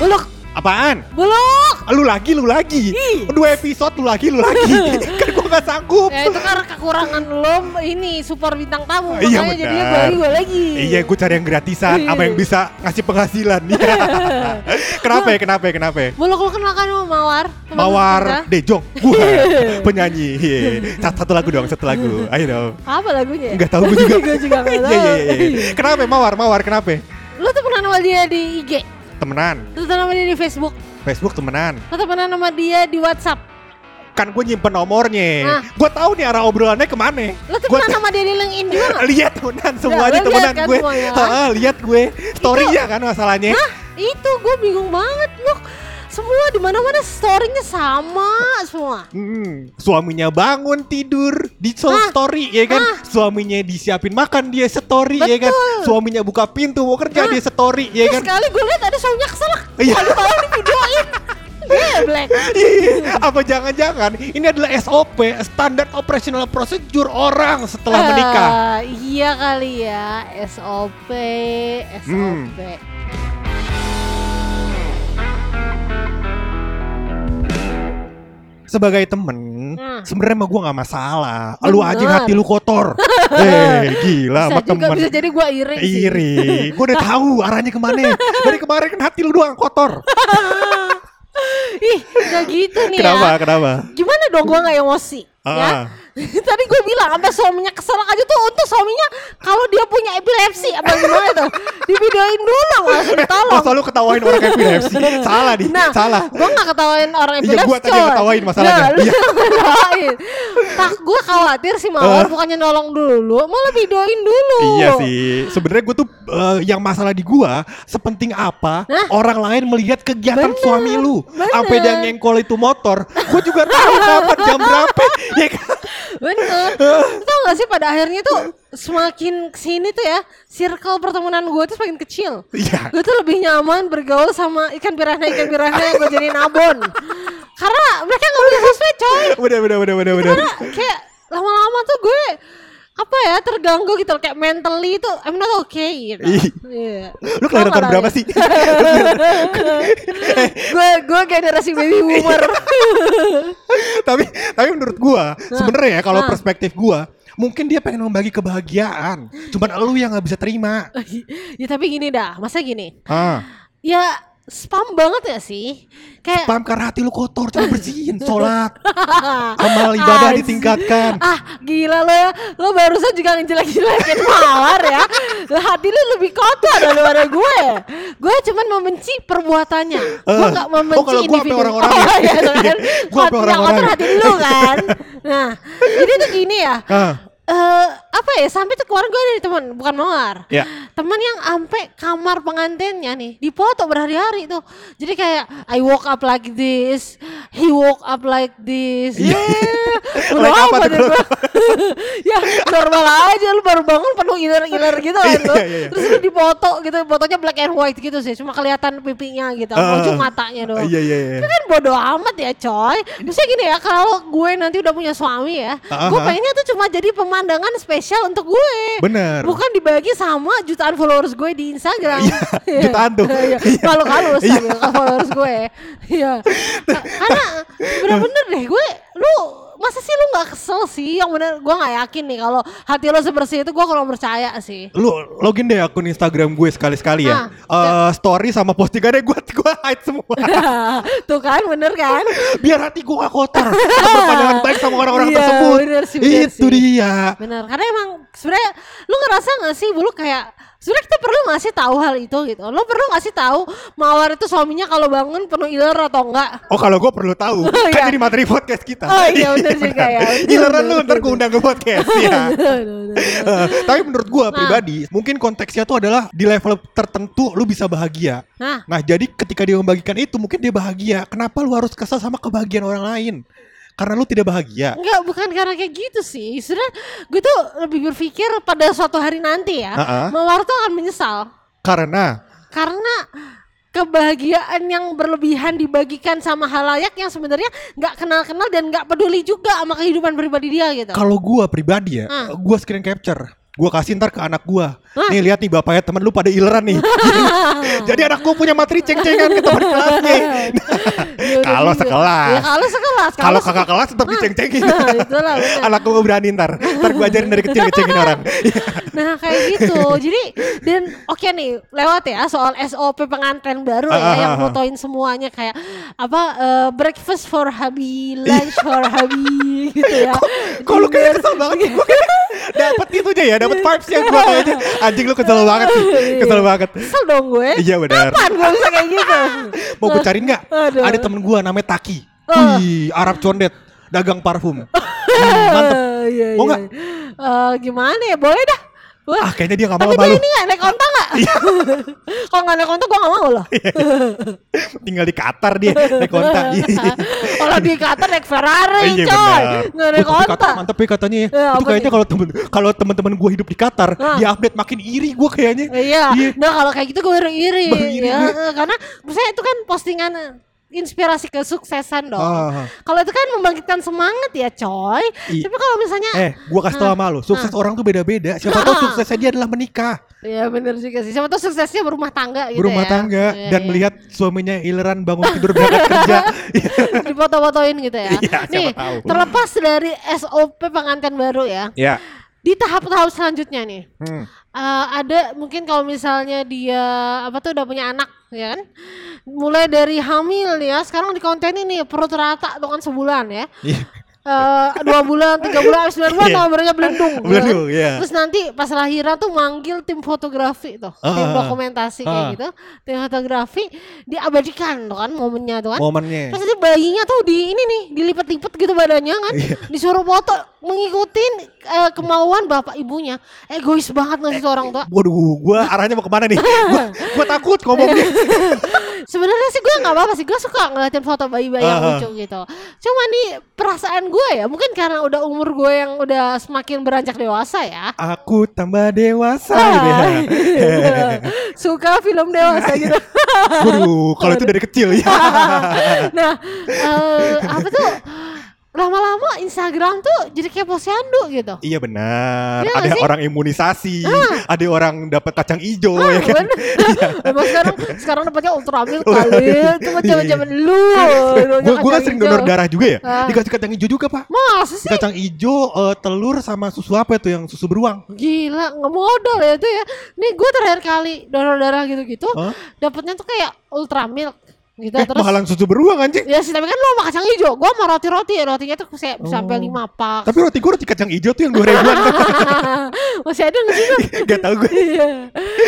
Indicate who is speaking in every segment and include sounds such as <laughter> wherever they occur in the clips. Speaker 1: Buluk,
Speaker 2: Apaan? Ah,
Speaker 1: buluk.
Speaker 2: Lu lagi, lu lagi.
Speaker 1: Ih.
Speaker 2: Dua episode lu lagi, lu lagi.
Speaker 1: <laughs>
Speaker 2: kan gua gak sanggup.
Speaker 1: Ya itu karena kekurangan lo ini support bintang tamu.
Speaker 2: Iya,
Speaker 1: makanya
Speaker 2: benar.
Speaker 1: jadinya gue lagi, gue lagi.
Speaker 2: Iya, gue cari yang gratisan
Speaker 1: Iya.
Speaker 2: apa yang bisa ngasih penghasilan. <laughs> Iya. kenapa ya? Kenapa ya? Kenapa ya?
Speaker 1: Buluk lo kenal kan sama Mawar? teman kita?
Speaker 2: Mawar Dejong, gue
Speaker 1: <laughs>
Speaker 2: penyanyi. Iya. Satu, satu lagu dong, satu lagu. Ayo dong.
Speaker 1: Apa lagunya?
Speaker 2: Enggak tahu
Speaker 1: <laughs>
Speaker 2: gue juga.
Speaker 1: Gua juga
Speaker 2: <laughs>
Speaker 1: nggak
Speaker 2: Iya, iya,
Speaker 1: tahu.
Speaker 2: iya, iya. Kenapa ya? Mawar? Mawar kenapa? ya?
Speaker 1: Lo tuh pernah sama dia di IG,
Speaker 2: Temenan,
Speaker 1: lo temenan sama dia di Facebook,
Speaker 2: Facebook temenan.
Speaker 1: lo temenan sama dia di WhatsApp,
Speaker 2: Kan gue nyimpen nomornya.
Speaker 1: Nah.
Speaker 2: Gue tahu nih arah obrolannya kemana.
Speaker 1: lo
Speaker 2: Gua
Speaker 1: temenan sama dia di LinkedIn juga.
Speaker 2: <laughs>
Speaker 1: nggak?
Speaker 2: lihat temenan
Speaker 1: Ya,
Speaker 2: semuanya
Speaker 1: lu lihat
Speaker 2: temenan
Speaker 1: kan
Speaker 2: gue
Speaker 1: semuanya.
Speaker 2: <laughs> Heeh, lihat gue storynya kan masalahnya
Speaker 1: Hah? Itu gue bingung banget Buluk. Semua di mana mana storynya sama semua.
Speaker 2: Hmm, suaminya bangun tidur di so-
Speaker 1: Hah?
Speaker 2: story ya kan
Speaker 1: Hah?
Speaker 2: suaminya disiapin makan dia story ya kan
Speaker 1: Betul.
Speaker 2: suaminya buka pintu mau kerja
Speaker 1: Hah?
Speaker 2: dia story ya kan
Speaker 1: Terus sekali gue liat ada suaminya keselak.
Speaker 2: Iya.
Speaker 1: Kalau tahu di videoin. Gue black.
Speaker 2: Iya, <laughs> apa jangan-jangan ini adalah SOP standar operational procedure orang setelah menikah
Speaker 1: Eh, iya kali ya, SOP, SOP.
Speaker 2: Hmm, sebagai temen
Speaker 1: Hmm.
Speaker 2: sebenarnya mah gue nggak masalah lu aja yang
Speaker 1: Bener.
Speaker 2: hati lu
Speaker 1: <laughs>
Speaker 2: kotor eh gila
Speaker 1: Bisa
Speaker 2: sama
Speaker 1: juga
Speaker 2: temen
Speaker 1: bisa jadi gua iri. sih.
Speaker 2: iri gue udah tahu arahnya kemana dari kemarin kan hati lu doang kotor
Speaker 1: Ih, nggak gitu nih
Speaker 2: kenapa
Speaker 1: ya.
Speaker 2: kenapa
Speaker 1: Gimana dong gua nggak emosi?
Speaker 2: Ah.
Speaker 1: Ya. <laughs> Tadi gue bilang sampai suaminya keselak aja tuh untuk suaminya kalau dia punya epilepsi apa gimana tuh divideoin dulu langsung ditolong.
Speaker 2: masa lu ketawain orang
Speaker 1: <laughs>
Speaker 2: epilepsi salah nih
Speaker 1: Nah,
Speaker 2: salah
Speaker 1: Gue gak ketawain orang
Speaker 2: Iya,
Speaker 1: epilepsi
Speaker 2: gua tadi yang
Speaker 1: coy.
Speaker 2: ketawain masalahnya.
Speaker 1: Nah, lu
Speaker 2: Iya.
Speaker 1: yang <laughs> ketawain Tak gue khawatir sih Mawar
Speaker 2: Eh.
Speaker 1: bukannya nolong dulu Malah videoin dulu
Speaker 2: Iya sih, sebenarnya gue tuh eh, yang masalah di gua sepenting apa
Speaker 1: Nah.
Speaker 2: orang lain melihat kegiatan
Speaker 1: Bener,
Speaker 2: suami lu,
Speaker 1: bener.
Speaker 2: sampai dia ngengkol itu motor, gue juga tahu kapan jam berapa, <laughs> ya kan?
Speaker 1: Bener
Speaker 2: <laughs>
Speaker 1: Tau gak sih pada akhirnya tuh Semakin kesini tuh ya Circle pertemanan gue tuh semakin kecil
Speaker 2: Iya.
Speaker 1: Gue tuh lebih nyaman bergaul sama ikan piranha-ikan piranha yang gue jadiin abon Karena mereka gak punya sosmed coy
Speaker 2: Bener bener bener bener bener.
Speaker 1: Karena kayak lama-lama tuh gue apa ya terganggu gitu loh, kayak mentally itu I'm not okay gitu.
Speaker 2: Ih.
Speaker 1: Iya.
Speaker 2: Lu kelahiran tahun berapa
Speaker 1: <laughs>
Speaker 2: sih?
Speaker 1: ya. Gue gue generasi baby
Speaker 2: <laughs>
Speaker 1: boomer. <laughs>
Speaker 2: tapi tapi menurut gua sebenarnya ya kalau
Speaker 1: Nah.
Speaker 2: perspektif gua mungkin dia pengen membagi kebahagiaan cuman lu yang nggak bisa terima
Speaker 1: ya tapi gini dah, masa gini.
Speaker 2: ah
Speaker 1: Ya spam banget ya sih? Kayak
Speaker 2: paham karena hati lu kotor coba
Speaker 1: <laughs>
Speaker 2: bersihin sholat amal ibadah
Speaker 1: Anjing.
Speaker 2: ditingkatkan
Speaker 1: Ah gila lo ya Lo barusan juga ngejelek-jelekin mawar ya Lah hati lo lebih kotor daripada gue Gue cuman membenci perbuatannya Gue
Speaker 2: Eh,
Speaker 1: gak
Speaker 2: oh,
Speaker 1: membenci
Speaker 2: kalau gue sampai
Speaker 1: individu
Speaker 2: orang-orang
Speaker 1: Oh,
Speaker 2: ya.
Speaker 1: iya, kan?
Speaker 2: Gue sampai
Speaker 1: Yang
Speaker 2: orang-orang
Speaker 1: kotor
Speaker 2: ya.
Speaker 1: hati lo kan Nah jadi tuh gini ya
Speaker 2: Ah.
Speaker 1: eh, apa ya sampai tuh kemarin gue dari teman bukan mawar
Speaker 2: Ya.
Speaker 1: teman yang ampe kamar pengantinnya nih dipoto berhari-hari tuh jadi kayak I woke up like this he woke up like this
Speaker 2: Iya.
Speaker 1: Yeah.
Speaker 2: Like
Speaker 1: Wow,
Speaker 2: apa tuh
Speaker 1: badan
Speaker 2: kalau-
Speaker 1: gua. <laughs> ya normal aja lu baru bangun penuh iler-iler gitu kan
Speaker 2: Iya,
Speaker 1: lu.
Speaker 2: iya, iya.
Speaker 1: terus lu dipoto gitu fotonya black and white gitu sih cuma kelihatan pipinya gitu sama
Speaker 2: Ah.
Speaker 1: ujung matanya doang
Speaker 2: iya iya iya
Speaker 1: itu kan bodo amat ya coy Maksudnya gini ya kalau gue nanti udah punya suami ya
Speaker 2: Ah,
Speaker 1: Gue
Speaker 2: ah.
Speaker 1: pengennya tuh cuma jadi pemandangan spesial untuk gue
Speaker 2: Bener.
Speaker 1: Bukan dibagi sama jutaan followers gue di Instagram
Speaker 2: Iya,
Speaker 1: Iya.
Speaker 2: jutaan tuh.
Speaker 1: <laughs> Iya,
Speaker 2: Iya.
Speaker 1: Malu-halus
Speaker 2: Iya.
Speaker 1: sambil ke followers gue Iya Ka- Karena bener-bener deh gue Lu masa sih lu gak kesel sih yang bener gue gak yakin nih kalau hati lo sebersih itu gue kalau percaya sih <laughs>
Speaker 2: lu login deh akun Instagram gue sekali-sekali ya.
Speaker 1: Ah,
Speaker 2: Eh, story sama postingannya gue gue hide semua.
Speaker 1: tuh kan bener kan
Speaker 2: Biar hati gue gak kotor. Tetap Berpandangan baik sama orang-orang
Speaker 1: Iya,
Speaker 2: tersebut.
Speaker 1: bener sih, bener
Speaker 2: Itu
Speaker 1: sih.
Speaker 2: dia.
Speaker 1: Benar, karena emang sebenarnya lu ngerasa gak sih dulu kayak sebenarnya kita perlu gak sih tahu hal itu gitu. Lu perlu gak sih tahu mawar itu suaminya kalau bangun penuh iler atau enggak?
Speaker 2: Oh kalau gue perlu
Speaker 1: <laughs>
Speaker 2: tahu
Speaker 1: iya.
Speaker 2: kan jadi materi podcast kita.
Speaker 1: Oh,
Speaker 2: <laughs>
Speaker 1: iya, bener juga ya.
Speaker 2: Giliran lu ntar gue undang ke podcast
Speaker 1: <laughs>
Speaker 2: ya. Eh, Tapi menurut gue
Speaker 1: Nah.
Speaker 2: pribadi mungkin konteksnya tuh adalah di level tertentu lu bisa bahagia.
Speaker 1: <laughs> Nah.
Speaker 2: Nah jadi ketika dia membagikan itu mungkin dia bahagia. Kenapa lu harus kesal sama kebahagiaan orang lain? Karena lu tidak bahagia.
Speaker 1: Enggak, bukan karena kayak gitu sih. Sebenarnya gue tuh lebih berpikir pada suatu hari nanti ya,
Speaker 2: Ha-ha.
Speaker 1: mawar tuh akan menyesal.
Speaker 2: Karena
Speaker 1: karena kebahagiaan yang berlebihan dibagikan sama halayak yang sebenarnya nggak kenal-kenal dan nggak peduli juga sama kehidupan pribadi dia gitu.
Speaker 2: Kalau gua pribadi ya,
Speaker 1: Ah.
Speaker 2: gua screen capture. Gua kasih ntar ke anak gua.
Speaker 1: Ah.
Speaker 2: Nih lihat nih bapaknya temen lu pada ileran
Speaker 1: <laughs>
Speaker 2: nih. Jadi anak gua punya materi ceng-cengan ke teman kelasnya.
Speaker 1: <laughs> Ya
Speaker 2: <laughs>
Speaker 1: udah
Speaker 2: Kalau
Speaker 1: gitu.
Speaker 2: sekelas.
Speaker 1: Ya kalau sekelas.
Speaker 2: Kalau
Speaker 1: se-
Speaker 2: kakak kelas tetap
Speaker 1: Ah,
Speaker 2: diceng-cengin.
Speaker 1: itulah, benar.
Speaker 2: anak gua nggak berani ntar. Ntar gua ajarin dari kecil
Speaker 1: <laughs>
Speaker 2: ngecengin orang. <laughs>
Speaker 1: Nah kayak gitu Jadi dan oke nih lewat ya soal SOP pengantin baru
Speaker 2: Ah, ah,
Speaker 1: ya Yang
Speaker 2: ah, ah.
Speaker 1: fotoin semuanya kayak apa eh, breakfast for hubby, lunch for hubby gitu ya
Speaker 2: Iya. Kok lu kayaknya kesel banget sih? Gua kayak dapet itunya ya, dapet vibes yang gua kayaknya. Anjing lu kesel banget sih,
Speaker 1: Iya.
Speaker 2: kesel banget.
Speaker 1: Kesel dong gue
Speaker 2: Iya, benar.
Speaker 1: Kapan gue bisa kayak gitu
Speaker 2: Mau gue cariin gak?
Speaker 1: Aduh.
Speaker 2: Ada temen gue namanya Taki.
Speaker 1: Ah.
Speaker 2: Wih, Arab condet. Dagang
Speaker 1: <laughs>
Speaker 2: parfum. Hmm, mantep.
Speaker 1: Eh, iya,
Speaker 2: Mau
Speaker 1: iya.
Speaker 2: nggak?
Speaker 1: Eh, Gimana ya boleh dah Wah,
Speaker 2: Ah, kayaknya dia nggak mau
Speaker 1: Tapi
Speaker 2: sama
Speaker 1: dia
Speaker 2: lu. Iya.
Speaker 1: ini gak naik onta gak? <laughs> Kalau gak naik onta gue gak mau
Speaker 2: <laughs>
Speaker 1: loh
Speaker 2: Tinggal di Qatar dia, naik
Speaker 1: <laughs>
Speaker 2: onta. Iya, iya.
Speaker 1: Kalau di Qatar naik Ferrari
Speaker 2: Iya,
Speaker 1: coy
Speaker 2: benar. Wih,
Speaker 1: Gak naik
Speaker 2: tapi Qatar
Speaker 1: onta
Speaker 2: Mantep ya katanya ya.
Speaker 1: Ya,
Speaker 2: Itu
Speaker 1: apa
Speaker 2: kayaknya
Speaker 1: nih?
Speaker 2: kalau temen kalau teman-teman gue hidup di Qatar,
Speaker 1: Ah.
Speaker 2: dia update makin iri gue kayaknya.
Speaker 1: Iya. Nah kalau kayak gitu gue baru iri.
Speaker 2: Baru iri.
Speaker 1: Ya, eh, karena misalnya itu kan postingan eh, inspirasi kesuksesan dong.
Speaker 2: Ah.
Speaker 1: Kalau itu kan membangkitkan semangat ya, coy.
Speaker 2: I-
Speaker 1: Tapi kalau misalnya
Speaker 2: Eh, gue kasih
Speaker 1: Ah.
Speaker 2: tau sama lu, sukses orang tuh beda-beda. Siapa tahu suksesnya dia adalah menikah,
Speaker 1: ya bener juga sih. Siapa tahu suksesnya berumah tangga gitu
Speaker 2: berumah
Speaker 1: ya.
Speaker 2: tangga,
Speaker 1: Iya,
Speaker 2: dan
Speaker 1: iya.
Speaker 2: melihat suaminya ileran bangun tidur berangkat kerja. Iya.
Speaker 1: <laughs> difoto-fotoin gitu ya.
Speaker 2: <laughs> Iya, siapa
Speaker 1: Nih,
Speaker 2: tahu.
Speaker 1: terlepas dari SOP pengantin baru ya.
Speaker 2: Ya.
Speaker 1: Di tahap-tahap selanjutnya nih.
Speaker 2: Hmm.
Speaker 1: Eh, ada mungkin kalau misalnya dia apa tuh udah punya anak ya kan mulai dari hamil ya sekarang di konten ini perut rata tuh kan sebulan ya
Speaker 2: Iya.
Speaker 1: Eh, dua bulan tiga bulan habis sembilan bulan
Speaker 2: Iya.
Speaker 1: nomornya belendung gitu kan.
Speaker 2: Belendung, iya.
Speaker 1: terus nanti pas lahiran tuh manggil tim fotografi tuh tim
Speaker 2: Ah,
Speaker 1: dokumentasi kayak
Speaker 2: ah.
Speaker 1: gitu tim fotografi diabadikan tuh kan
Speaker 2: Oh.
Speaker 1: momennya tuh kan
Speaker 2: Momennya.
Speaker 1: Terus nanti bayinya tuh di ini nih dilipet-lipet gitu badannya kan,
Speaker 2: Iya.
Speaker 1: disuruh foto mengikutin eh, kemauan bapak ibunya. Egois banget nggak sih tuh orang tua?
Speaker 2: Waduh, gua arahnya mau kemana nih? Gua, gua takut ngomongnya.
Speaker 1: Sebenarnya sih gue nggak apa-apa sih, gue suka ngeliatin foto bayi-bayi yang
Speaker 2: Ah, ah.
Speaker 1: lucu gitu. Cuma nih perasaan gue ya, mungkin karena udah umur gue yang udah semakin beranjak dewasa
Speaker 2: <laughs>
Speaker 1: ya.
Speaker 2: Aku tambah dewasa. gitu ya.
Speaker 1: Ah,
Speaker 2: iya.
Speaker 1: <laughs> suka film dewasa
Speaker 2: <laughs>
Speaker 1: gitu.
Speaker 2: Waduh, kalau itu dari kecil
Speaker 1: <laughs>
Speaker 2: ya.
Speaker 1: nah, eh, apa tuh? Lama-lama Instagram tuh jadi kayak posyandu gitu.
Speaker 2: Iya benar.
Speaker 1: Iya nggak
Speaker 2: ada
Speaker 1: sih?
Speaker 2: orang imunisasi, ada orang dapat kacang ijo
Speaker 1: Ah,
Speaker 2: ya kan. <laughs>
Speaker 1: bener. Emang sekarang sekarang dapatnya ultramil kali. Cuma zaman-zaman lu.
Speaker 2: Gue iya. gua kan sering donor darah juga ya.
Speaker 1: Ah.
Speaker 2: Dikasih kacang ijo juga, Pak.
Speaker 1: Masa sih?
Speaker 2: Kacang ijo, eh, telur sama susu apa itu yang susu beruang?
Speaker 1: Gila, nggak modal ya itu ya. Nih gue terakhir kali donor darah gitu-gitu,
Speaker 2: Hah?
Speaker 1: dapatnya tuh kayak ultramil gitu
Speaker 2: Eh,
Speaker 1: terus.
Speaker 2: mahalan susu beruang anjing.
Speaker 1: Ya sih, tapi kan lu sama kacang hijau. Gua sama roti-roti, rotinya tuh kayak
Speaker 2: Oh.
Speaker 1: sampai lima pak. <laughs>
Speaker 2: Tapi roti gue roti kacang ijo tuh yang 2 ribuan. kan? <laughs>
Speaker 1: Masih ada nggak sih? Bang?
Speaker 2: Gak tau gue.
Speaker 1: Iya.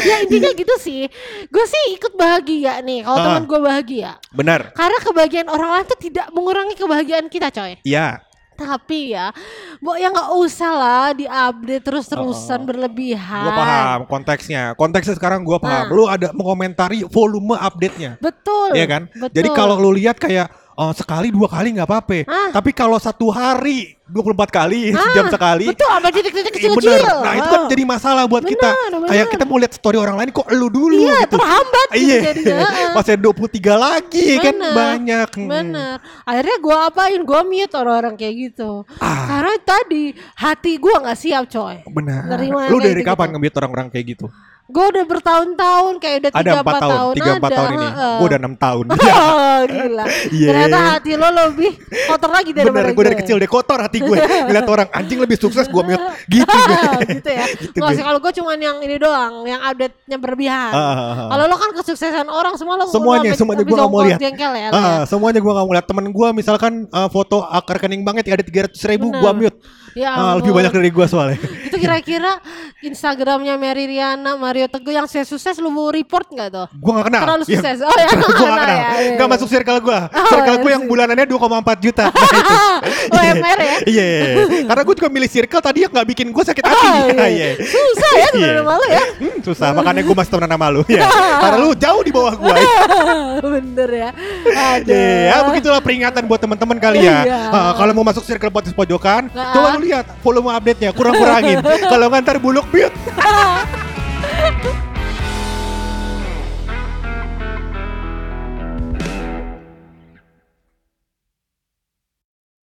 Speaker 1: ya intinya gitu sih. Gue sih ikut bahagia nih. Kalau
Speaker 2: Ah.
Speaker 1: teman gue bahagia,
Speaker 2: Benar.
Speaker 1: karena kebahagiaan orang lain tuh tidak mengurangi kebahagiaan kita, coy.
Speaker 2: Iya.
Speaker 1: Tapi ya, Mbok ya nggak usah lah diupdate terus-terusan berlebihan.
Speaker 2: Gue Ah. paham konteksnya. Konteksnya sekarang gue paham.
Speaker 1: Nah.
Speaker 2: Lu ada mengomentari volume update-nya.
Speaker 1: Betul.
Speaker 2: Iya kan?
Speaker 1: Betul.
Speaker 2: Jadi kalau lu lihat kayak eh, sekali dua kali nggak apa-apa.
Speaker 1: Ah.
Speaker 2: Tapi kalau satu hari 24 kali, sejam sekali.
Speaker 1: Betul, apa titik-titik
Speaker 2: Iya
Speaker 1: kecil-kecil.
Speaker 2: bener. Nah itu kan
Speaker 1: Ah.
Speaker 2: jadi masalah buat kita.
Speaker 1: Benar,
Speaker 2: Kayak
Speaker 1: benar.
Speaker 2: kita mau lihat story orang lain kok lu dulu
Speaker 1: Iya,
Speaker 2: gitu.
Speaker 1: terhambat gitu
Speaker 2: Iya. <laughs>
Speaker 1: jadinya. Ah.
Speaker 2: Masih ada 23 lagi kan
Speaker 1: Bener,
Speaker 2: banyak. Hmm.
Speaker 1: Bener. Akhirnya gua apain? Gua mute orang-orang kayak gitu.
Speaker 2: Ah.
Speaker 1: Karena tadi hati gua nggak siap, coy.
Speaker 2: Benar.
Speaker 1: Nerima
Speaker 2: Lu
Speaker 1: kayak
Speaker 2: dari
Speaker 1: gitu-gitu.
Speaker 2: kapan nge-mute orang-orang kayak gitu?
Speaker 1: Gua udah bertahun-tahun kayak udah
Speaker 2: Ada
Speaker 1: 3
Speaker 2: 4 tahun, 3 4
Speaker 1: ada, ah,
Speaker 2: tahun ini.
Speaker 1: heeh.
Speaker 2: Gua udah Iya. 6 tahun. <laughs>
Speaker 1: <laughs> Oh, gila.
Speaker 2: Iya.
Speaker 1: Ternyata hati lo lebih kotor lagi daripada
Speaker 2: Bener, gue dari kecil deh kotor hati gue Lihat orang anjing lebih sukses gue
Speaker 1: <laughs>
Speaker 2: mute Gitu gue
Speaker 1: gitu ya.
Speaker 2: Gitu
Speaker 1: Nggak
Speaker 2: gue.
Speaker 1: sih kalau gue cuman yang ini doang, yang update-nya berlebihan.
Speaker 2: Ah, ah, ah.
Speaker 1: Kalau lo kan kesuksesan orang semua lo
Speaker 2: Semuanya, semuanya gue gak mau lihat
Speaker 1: Jengkel ya, lo ya.
Speaker 2: Ah, Semuanya gue gak mau lihat Temen gue misalkan eh, foto ak- rekening banget ada 300 ribu
Speaker 1: Bener.
Speaker 2: gue mute
Speaker 1: Ya
Speaker 2: Ah, Lebih
Speaker 1: ampun.
Speaker 2: banyak dari gue soalnya
Speaker 1: Itu kira-kira Instagramnya Mary Riana, Mario Teguh yang sukses lu mau report nggak
Speaker 2: <laughs>
Speaker 1: tuh?
Speaker 2: Gue gak kenal
Speaker 1: Terlalu
Speaker 2: Iya.
Speaker 1: sukses. Oh, ya,
Speaker 2: <laughs> Gue
Speaker 1: nggak
Speaker 2: gak
Speaker 1: kenal
Speaker 2: kenal
Speaker 1: ya, iya,
Speaker 2: Gak
Speaker 1: iya.
Speaker 2: masuk circle gue
Speaker 1: Oh,
Speaker 2: Circle gue
Speaker 1: iya
Speaker 2: yang bulanannya 2,4 juta
Speaker 1: <laughs>
Speaker 2: Nah, itu.
Speaker 1: Ah, UMR ya?
Speaker 2: <laughs>
Speaker 1: <laughs>
Speaker 2: Iya Karena gue juga milih circle tadi yang gak bikin gue sakit hati
Speaker 1: Oh, iya.
Speaker 2: <laughs> Iya.
Speaker 1: Susah ya
Speaker 2: Iya.
Speaker 1: teman malu ya.
Speaker 2: Hmm, Susah makanya gue masih temenan sama lu
Speaker 1: <laughs>
Speaker 2: ya. Karena lu jauh di bawah gue
Speaker 1: Bener ya. Aduh.
Speaker 2: Iya, begitulah peringatan buat teman-teman kali ya.
Speaker 1: Iya.
Speaker 2: Ah, kalau mau masuk circle podcast pojokan,
Speaker 1: Nah. <laughs>
Speaker 2: coba lu lihat volume update-nya kurang-kurangin. kalau nggak ntar buluk mute.